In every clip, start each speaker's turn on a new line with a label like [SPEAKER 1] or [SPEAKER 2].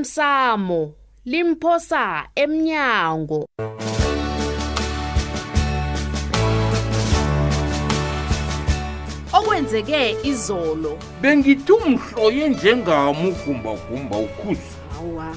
[SPEAKER 1] osemsamo limphosa emnyango okwenzeke izolo
[SPEAKER 2] bengithi umhloye njengami ugumbagumba ukhuzi
[SPEAKER 3] hawa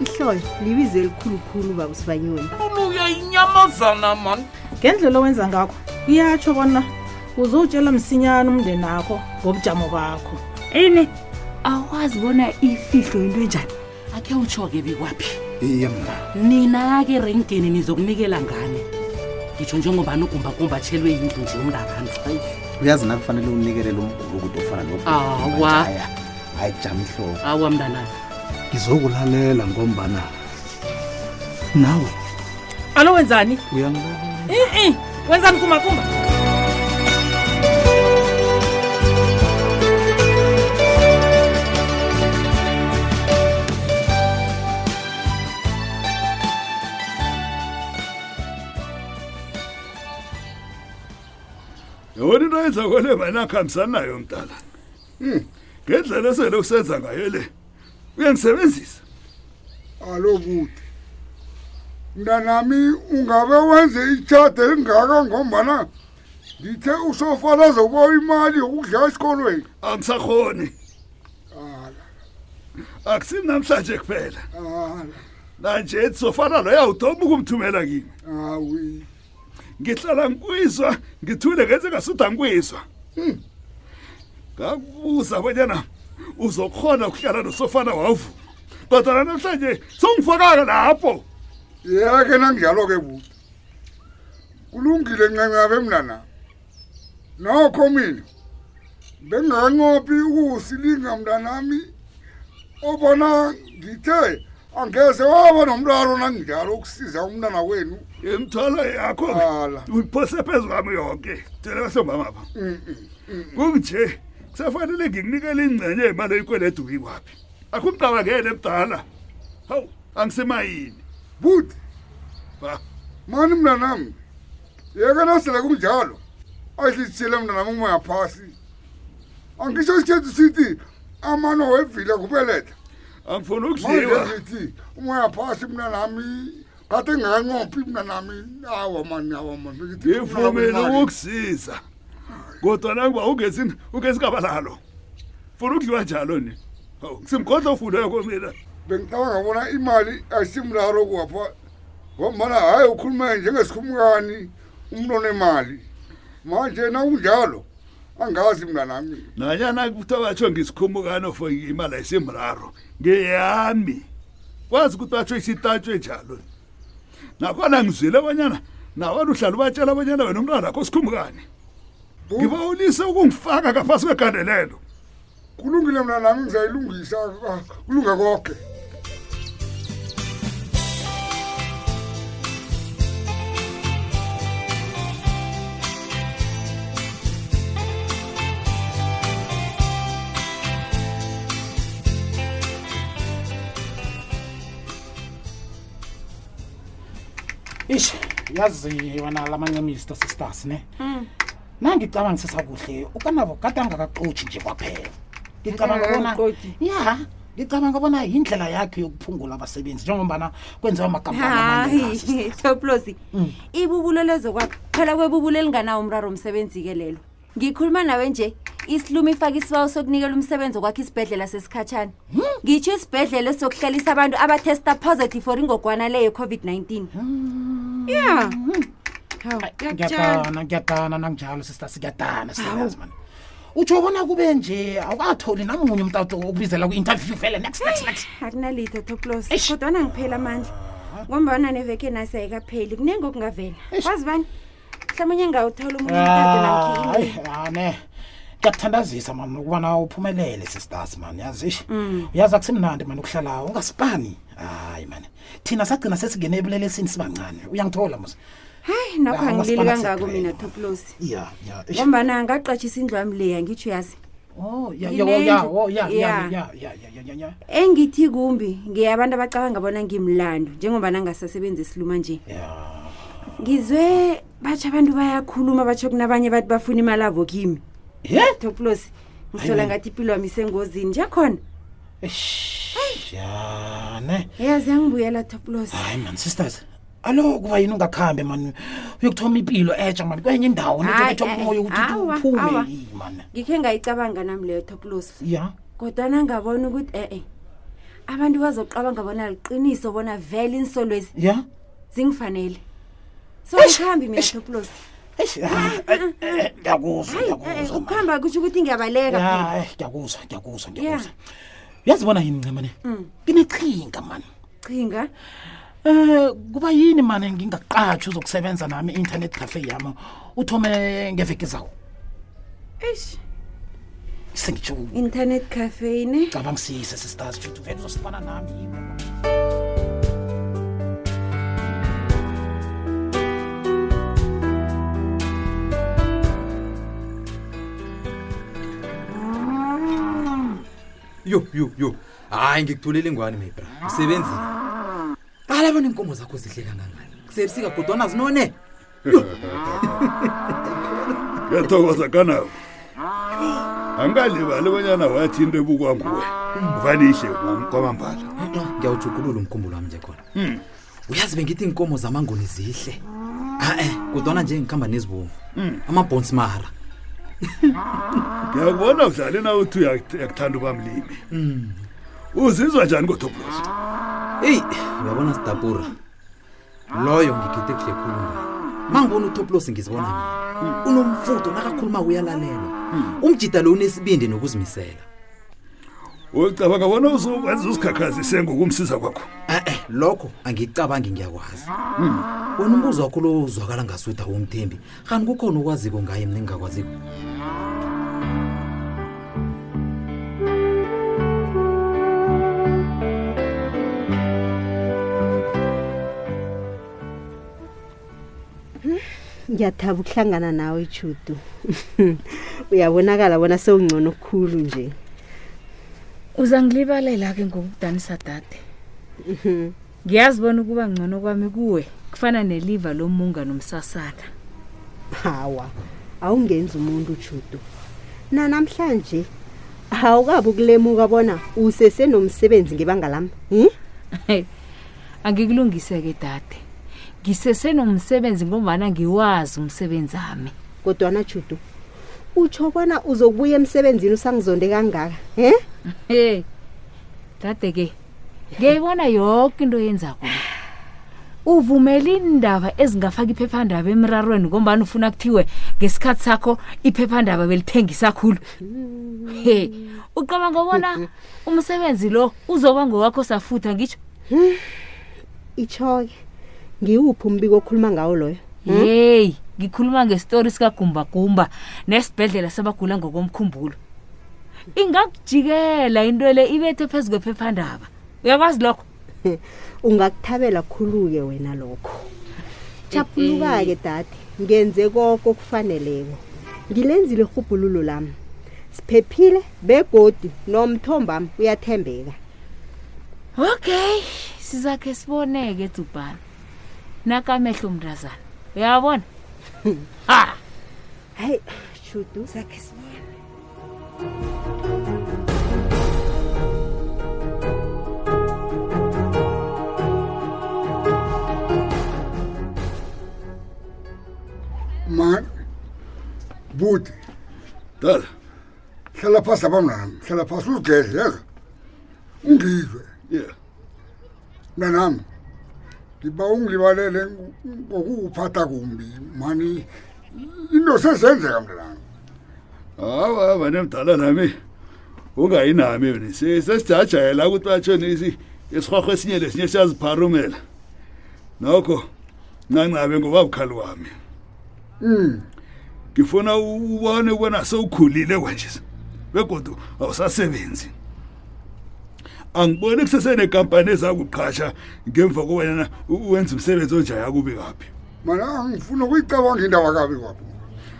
[SPEAKER 3] ihloyo libizo elikhulukhulu baba usibanyoni
[SPEAKER 2] ulu uyayinyamazana mani
[SPEAKER 4] ngendlela owenza ngakho kuyatsho bona uzowutshela msinyane umndeni akho ngobujamo bakho
[SPEAKER 5] ini awazi bona ifihlo into enjani akhe utsho-ke bekwaphi
[SPEAKER 6] iye mna
[SPEAKER 5] nina-ke renkeni nizokunikela ngani ngitsho njengombani ugumbagumba tshelwe yindlu nje umntabantu
[SPEAKER 6] uyazi nakufanele unikelele umgulukude ofana
[SPEAKER 7] Ah,
[SPEAKER 5] Awa.
[SPEAKER 6] hayi jama ihloko
[SPEAKER 5] awa mntanam
[SPEAKER 8] ngizokulalela ngombana nawe
[SPEAKER 4] alo wenzani
[SPEAKER 8] uyangibona
[SPEAKER 4] i-i wenzani kumakumba
[SPEAKER 9] yona into yenza kwele wena akuhambisani nayo mdala ngendlela esele kusenza ngayo le uyangisebenzisa
[SPEAKER 10] alo buti mntanami ungabe wenze itshade elingaka ngombana ngithe usofana zokuba imali yokudlala esikolweni
[SPEAKER 9] angisakhoni
[SPEAKER 10] ala
[SPEAKER 9] akusini namhlanje kuphela
[SPEAKER 10] ala
[SPEAKER 9] nanje sofana loyo awudoba ukumthumela kimi
[SPEAKER 10] awi
[SPEAKER 9] ngihlala ngikwizwa ngithule ngenze ngasuda ngikwizwa ngakubuza bonyana uzokhona ukuhlala nosofana wavuma kodwana namhlanje songifakaka lapho
[SPEAKER 10] yeke nanjalo-ke buti kulungile ncancabe mntanami nokho mina benginganqophi ukuwusilinga mntanami obona ngithe angeze waba nomraro nanginjalo ukusiza umntana wenu
[SPEAKER 9] imthwalo yakho
[SPEAKER 10] ala Mm,
[SPEAKER 9] uyiphose phezu kwami yonke tshele bahlomamapha kunje kusafanele ngikunikele ingcenye yemali oyikweledu kikwaphi akhumcabangele mdala hawu angisemayini
[SPEAKER 10] buti
[SPEAKER 9] Ba.
[SPEAKER 10] mani mntanami yeke nasele kunjalo ayidlitshile mntanami umoya phasi angisho sithethu sithi amano wevila kubeletha
[SPEAKER 9] angifuna
[SPEAKER 10] manje
[SPEAKER 9] ukudliwa
[SPEAKER 10] sithi umoya phasi mntanami kade nginganqophi mntanami awa mani awa mani ngithi
[SPEAKER 9] ngivumele
[SPEAKER 10] mntanami,
[SPEAKER 9] ukukusiza kodwana kuba ungezini ungezingabalalo funa ukudliwa njalo ni hawu ngisimgodlo ofundeyo komina
[SPEAKER 10] bengicabanga bona imali ayisimlalo kuwapha ngombana hhayi ukhulume njengesikhumukani umntu onemali manje nakunjalo angazi mntanami
[SPEAKER 9] nanyana kuthi batsho ngisikhumukane ofo imali ayisimraro ngeyami kwazi ukuthi batsho isitatshwe njalo nakhona ngizwile bonyana nawana uhlala ubatshela bonyana wena umntwana akho sikhumukane ngibawulise ukungifaka ngaphasi kwegandelelo
[SPEAKER 10] kulungile mna nami ngizayilungisa ah, kulunge konke
[SPEAKER 7] ish yazi wena lamancemista sisters ne nangicabangisisa kuhle ukanabo kade angakaxotshi nje kwaphela ngicabanga bona
[SPEAKER 4] Akakaxotshi.
[SPEAKER 7] ya ngicabanga bona yindlela yakhe yokuphungula abasebenzi njengombana kwenziwa amagampani
[SPEAKER 11] hayi toplosi
[SPEAKER 7] Hmm.
[SPEAKER 11] ibubulo lezokwakho phela kwebubulo elinganawo umraro umsebenzi-ke lelo ngikhuluma nawe nje isilume ifake isibawo sokunikela umsebenzi okwakho isibhedlela sesikhatshana
[SPEAKER 7] Hmm.
[SPEAKER 11] ngitsho isibhedlela esizokuhlalisa abantu abathesta positive for ingogwana leyo covid-19
[SPEAKER 7] Hmm.
[SPEAKER 3] ya
[SPEAKER 7] ngiyadana ngiyadana nanginjalo sisters ngiyadana siyazi mani utsho bona kube nje awukatholi namunye umntato okubizela kwi-interview vele next next next
[SPEAKER 11] akunalitho toplos kodwana ngiphela amandla ngombana neveke nasi ayikapheli kunenge okungavela kwazi bani mhlawumunye ngawuthola
[SPEAKER 7] Ah, hayi
[SPEAKER 11] umunye
[SPEAKER 7] ane ngiyakuthandazisa mani ukubana uphumelele sisters mani yazi uyazi akusemnandi mani ukuhlala ungasipani hayi mani thina sagcina sesigene ebulelesini sibancane uyangithola musa
[SPEAKER 11] hayi nokho
[SPEAKER 7] Ah,
[SPEAKER 11] angilili
[SPEAKER 7] umasipala
[SPEAKER 11] kangako mina
[SPEAKER 7] sekugcwele.
[SPEAKER 11] toplosi
[SPEAKER 7] ya ya eish.
[SPEAKER 11] ngombana ngaqatshisa indlu yami leya ngitsho uyazi
[SPEAKER 7] Oh, ya,
[SPEAKER 11] Yile
[SPEAKER 7] ya, ya,
[SPEAKER 11] ndlu-
[SPEAKER 7] oh, ya, ya,
[SPEAKER 11] ya.
[SPEAKER 7] ya, ya, ya, ya, ya, ya.
[SPEAKER 11] engithi kumbi ngiyabantu abacabanga bona ngimlando njengobana ngasasebenzi siluma nje
[SPEAKER 7] Ya.
[SPEAKER 11] ngizwe batsha abantu bayakhuluma batsho kunabanye bathi bafuna imali abo kimi
[SPEAKER 7] Ye?
[SPEAKER 11] toplos ngisola
[SPEAKER 7] Ayi.
[SPEAKER 11] ngathi impilo yami isengozini nje khona
[SPEAKER 7] Eish. jane
[SPEAKER 11] yazi yangibuyela toplos
[SPEAKER 7] hayi mani sisters alo kuba yini ungakhambi mani uyokuthoma impilo etsha mani kwenye indawo
[SPEAKER 11] eh,
[SPEAKER 7] nethoma umoya ukuthi uphume mani
[SPEAKER 11] ngikhe ngayicabanga nami leyo toplos
[SPEAKER 7] ya
[SPEAKER 11] kodwana ngabona ukuthi e-e abantu bazoqabanga bona liqiniso bona vele insolwezi
[SPEAKER 7] ya
[SPEAKER 11] zingifanele so ngikhambi mina toplos
[SPEAKER 7] ah,
[SPEAKER 11] Mm,
[SPEAKER 7] eh, ngiyakuzwa ngiyakuzwa
[SPEAKER 11] ukuhamba kutsho ukuthi ngiyabaleka eh, phela.
[SPEAKER 7] ya eh, ngiyakuzwa ngiyakuzwa ngiyakuzwa
[SPEAKER 11] Ya.
[SPEAKER 7] uyazibona yini ncema ne
[SPEAKER 11] Mm.
[SPEAKER 7] nginechinga mani
[SPEAKER 11] chinga
[SPEAKER 7] um kuba yini mani ngingaqatshi uzokusebenza nami i-internet cafe yami uthome ngeveki zawo
[SPEAKER 11] eish
[SPEAKER 7] sengitsho
[SPEAKER 11] internet cafe ne
[SPEAKER 7] cabangisise sistars shuthi vele uzosifana nami
[SPEAKER 12] yo yo yo hayi ngikuthulele ngwane mebra usebenzile qala bona iinkomo zakho zidle kangangani kusebusika godwana zinone
[SPEAKER 9] ngiyathokoza kanawe angadlibali banyana wathi into ebukwanguwe vanishe kwamambala
[SPEAKER 12] ngiyawujugulula umkhumbulo wami nje khona
[SPEAKER 9] Hmm.
[SPEAKER 12] uyazi bengithi iinkomo zamangoni zihle a-e kodwana nje ngikuhamba nezibomvu
[SPEAKER 9] Hmm.
[SPEAKER 12] amabhonsmara
[SPEAKER 9] ngiyakubona udlale na uthi uyak- uyakuthanda ubamlimi
[SPEAKER 12] Hmm.
[SPEAKER 9] uzizwa njani kotoplost
[SPEAKER 12] eyi uyabona sidabura loyo ngikhethe kuhle khulu ngayo mangibona utoplosi ngizibona mina unomfutho nakakhuluma uyalalelwa umjida lo unesibindi nokuzimisela
[SPEAKER 9] ucabanga bona uzokwenza uzikhakhazise ngokumsiza kwakho
[SPEAKER 12] e-e lokho angicabangi ngiyakwazi wena umbuzo wakho lo uzwakala ngasutha womthembi kanti kukhona okwaziko ngaye mina engingakwaziko
[SPEAKER 3] ngiyathaba ukuhlangana nawe ijudu uyabonakala bona sewungcono kukhulu nje
[SPEAKER 13] uzangilibalela-ke ngokudanisa dade ngiyazibona ukuba ngcono kwami kuwe kufana neliva lomunga nomsasana
[SPEAKER 3] hawa awungenzi umuntu ujudu na namhlanje awukabi ukulemuka bona usesenomsebenzi ngebanga lami hm? hi
[SPEAKER 13] angikulungise-ke dade ngisesenomsebenzi ngombana ngiwazi umsebenzi ami
[SPEAKER 3] kodwana judu utsho bona uzokubuya emsebenzini usangizonde kangaka em
[SPEAKER 13] he dade-ke ngiyayibona yoke into yenzako le. uvumele indaba ezingafaki iphephandaba emrarweni ngombani ufuna kuthiwe ngesikhathi sakho iphephandaba belithengisa khulu he uqabanga ubona umsebenzi lo uzoba ngowakho safutha ngitsho
[SPEAKER 3] itsho-ke ngiwuphi umbiko okhuluma ngawo loyo Hmm?
[SPEAKER 13] heyi ngikhuluma ngesitori sikagumbagumba nesibhedlela sabagula ngokomkhumbulo ingakujikela into le ibethe phezu kwephephandaba uyakwazi lokho
[SPEAKER 3] ungakuthabela khulu-ke wena lokho chaphuluka-ke dade ngenze koko okufaneleko ngilenzile irhubhululo lami siphephile begodi nomthombami uyathembeka
[SPEAKER 13] okay sizakhe siboneke edzubhana nakamehlo mntazana uyabona ha
[SPEAKER 3] hayi shudu sakhe sibone
[SPEAKER 10] mani budi
[SPEAKER 9] dala
[SPEAKER 10] hlala phasi apha mnanami hlala phasi uzigedle yezo ungizwe
[SPEAKER 9] yeah
[SPEAKER 10] mnanami ngiba ungilibalele ngokuphatha kumbi mani into sezenzeka mnanami
[SPEAKER 9] hawa banemdala nami ungayi nami yona Se- sesijajayela ukuthi batshonisi isirhwarho esinye lesinye siyazipharumela nokho nancabe ngoba bukhali wami
[SPEAKER 10] Mm.
[SPEAKER 9] ngifuna u- ubone ubona sewukhulile kwenje begodu awusasebenzi angiboni kusesenekampani ezakuqhasha ngemva kobanyana u- wenze umsebenzi onjaya kubi kaphi
[SPEAKER 10] mana angifuna ah, ukuyicabanga indaba kabi kwapho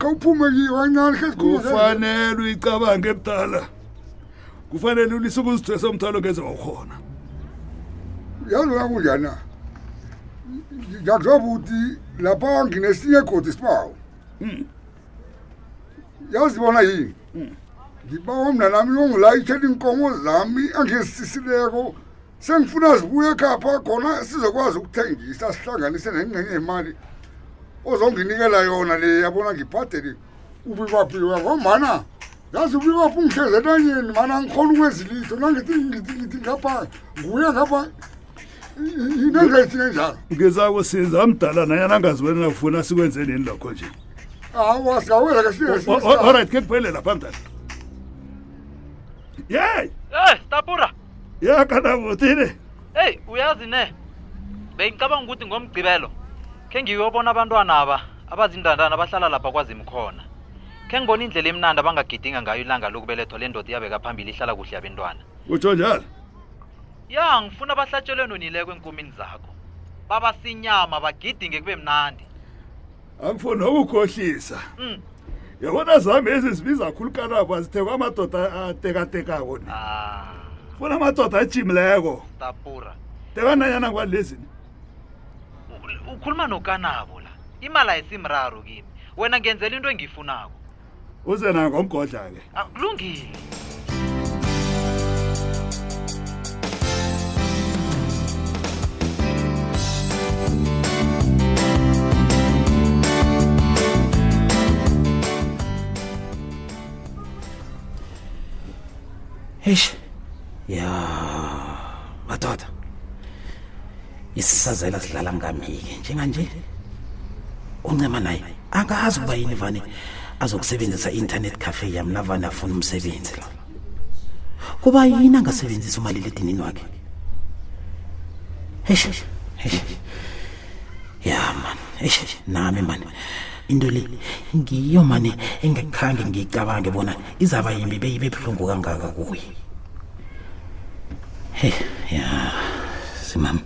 [SPEAKER 10] khawuphume kiyo kancane khe sikhulume
[SPEAKER 9] kufanele uyicabange ebudala kufanele ulise ukuzithwesa umthwalo ngeze wawukhona
[SPEAKER 10] yazi wena kunjani na ngiyakuzwa buti lapha nginesinye egodi sibawo yazi bona yini ngibawa mna nami yongilayitshela iinkomo zami engizisisileko sengifuna zibuye ekhapha khona sizokwazi ukuthengisa sihlanganise nengcenye yemali ozonginikela yona le yabona ngibhadele ubibaphiwa ngomana yazi ubibaphi ungihleze entanyeni mana ngikhona ukwezilitho nangithi ngithi ngithi ngapha nguye ngapha into engayithine njalo
[SPEAKER 9] ngiza kusiza mdala nanyana angazi wena ufuna sikwenze nini lokho nje
[SPEAKER 10] awa singawela ke siye
[SPEAKER 9] O- o- alright ke kuphele lapha mdala yey
[SPEAKER 14] Eh, Tapura.
[SPEAKER 9] yakanabutile
[SPEAKER 14] Hey, uyazi ne. Bengicabanga ukuthi ngomgcibelo ke ngiyobona abantwana aba abazindandana abahlala lapha kwazimu khona. Ke ngibona indlela emnandi abangagidinga ngayo ilanga lokubelethwa lendoda yabeka phambili ihlala kuhle yabantwana.
[SPEAKER 9] utsho njalo
[SPEAKER 14] Ya, ngifuna bahlatshelwe nonileko enkomini zakho. Baba sinyama bagidinge kube mnandi.
[SPEAKER 9] angifuni ukukhohlisa
[SPEAKER 14] Mm.
[SPEAKER 9] yabona zami ezi zibiza khulu kanabo azithekwa amadoda atekatekako ni funa amadoda ajimileko
[SPEAKER 14] Ah, Tapura.
[SPEAKER 9] teka nanyana kwalezini
[SPEAKER 14] Ukhuluma nokanabo la. Imali ayisimraro kimi. Wena ngenzela into engiyifunako. Ah,
[SPEAKER 9] uze nangomgodla ke
[SPEAKER 14] Akulungile.
[SPEAKER 7] eish ya madoda isisazela sidlala ngami-ke njenganje uncema naye angazi ukuba yini vane azokusebenzisa i-internet cafe yami navane afuna umsebenzi la kuba yini angasebenzisa umaliledinini wakhe eish eish ya mani eish nami mani into le ngiyo mani engikhange ngiyicabange bona izaba yimbi beyibe buhlungu kangaka kuye hey ya simama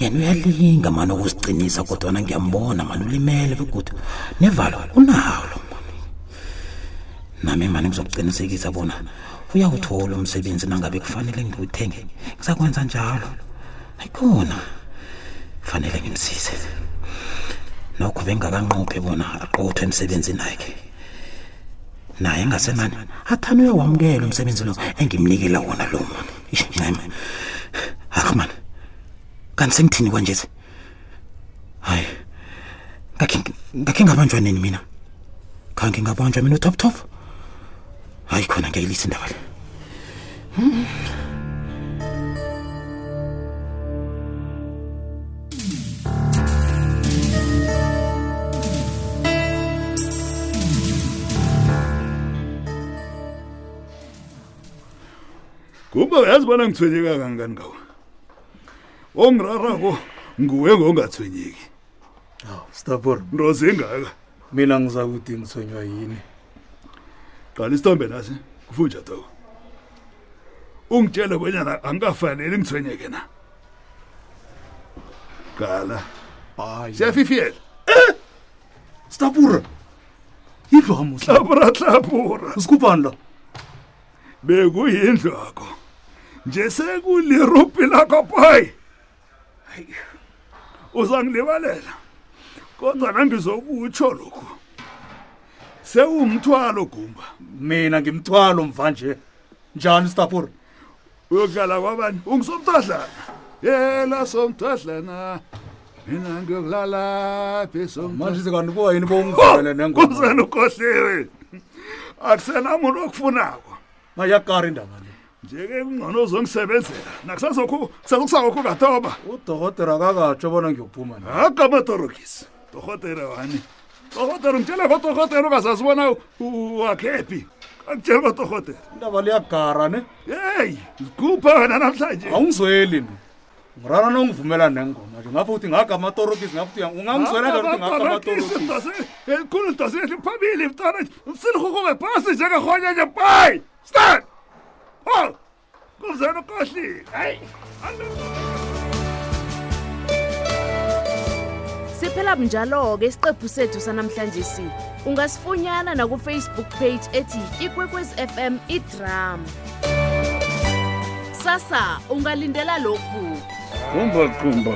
[SPEAKER 7] yena uyalinga mani ukuziqinisa kodwana ngiyambona mani ulimele begudu nevalo unalo mani nami mani ngizokuqinisekisa bona uyawuthola umsebenzi nangabe kufanele ngiwuthenge ngisakwenza njalo ayikhona kufanele ngimsize nokho bengakanqophi bona aqothwe emsebenzini akhe naye engasenani athane uyawamukela umsebenzi lo engimnikela wona lo mani incema akhman kanti sengithini kwanjezi hayi ngakhe ngakhe ngabanjwa nini mina khange ngabanjwa mina utop top hayi khona ngiyayilisa indaba le Hmm.
[SPEAKER 9] kumba uyazi bona ngithwenyeka kangani ngawo ongirarako nguwe ngongathwenyeki
[SPEAKER 15] stapor
[SPEAKER 9] ndozingaka
[SPEAKER 15] mina ngizakuthi ngithonywa yini
[SPEAKER 9] qala isithombe nasi kufunja toko ungitshele bonyana angikafaneli ngithwenyeke na qala siyafifiyela
[SPEAKER 15] Eh! stapura yindlwamo
[SPEAKER 9] hlapura hlapura
[SPEAKER 15] usikhuphani la
[SPEAKER 9] bekuyindlu akho nje sekulirubhi lakho boy Hayi, uzangilibalela kodwa nangizokutsho lokhu sewumthwalo gumba
[SPEAKER 15] mina ngimthwalo mvanje njani stapura
[SPEAKER 9] uyokuhlala kwabani ungisomtadlana yela somtadlana mina ngiyokulala
[SPEAKER 15] manje sekani kuba yini bowungivukele
[SPEAKER 9] kuzeni ukhohliwe akusenamuntu okufunako
[SPEAKER 15] mayakari indaba le
[SPEAKER 9] njeke kungcono uzongisebenzela nakusazokhu kusazokusakokho katoba
[SPEAKER 15] udokotera kakatsho bona ngiyophuma na
[SPEAKER 9] haga amatorokisi dorhotera wani dorhotera ngitshela kodorhotera ungazazibona wakephi akutshela kodorhotera
[SPEAKER 15] indaba liyagara ne
[SPEAKER 9] yeyi zikhupha wena namhlanje
[SPEAKER 15] awungizweli mna ngirana nongivumela nengoma nje ngapho uthi ngakha amatorokisi ngapho uthi ungangizwela njani ukuthi ngakha amatorokisi
[SPEAKER 9] elikhulu dosehli phambili mntwana silihukube phasi njengehonyenye bayi stan o kumzeni ukohlile hayi
[SPEAKER 1] Siphela njalo ke isiqephu sethu sanamhlanje si. Ungasifunyana na ku Facebook page ethi Ikwekwezi FM iDrum. Sasa ungalindela lokhu.
[SPEAKER 15] qumba qumba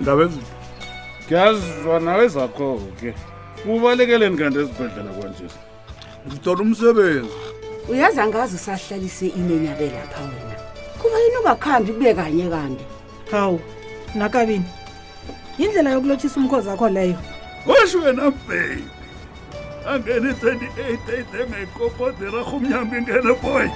[SPEAKER 15] ndaba eziphi ngiyazizwa nawe zakho ke ubalekeleni kanti esibhedlela kwanje ngithola umsebenzi
[SPEAKER 3] uyazi angazi usahlalise imeni yabe lapha wena kuba
[SPEAKER 11] yini ungakhambi kube kanye kanti
[SPEAKER 3] hawu nakabini yindlela yokulotshisa umkhozi akho leyo
[SPEAKER 9] usho wena mbheyi angene 28 ede ngayikopodela rhumnyambi ngene boy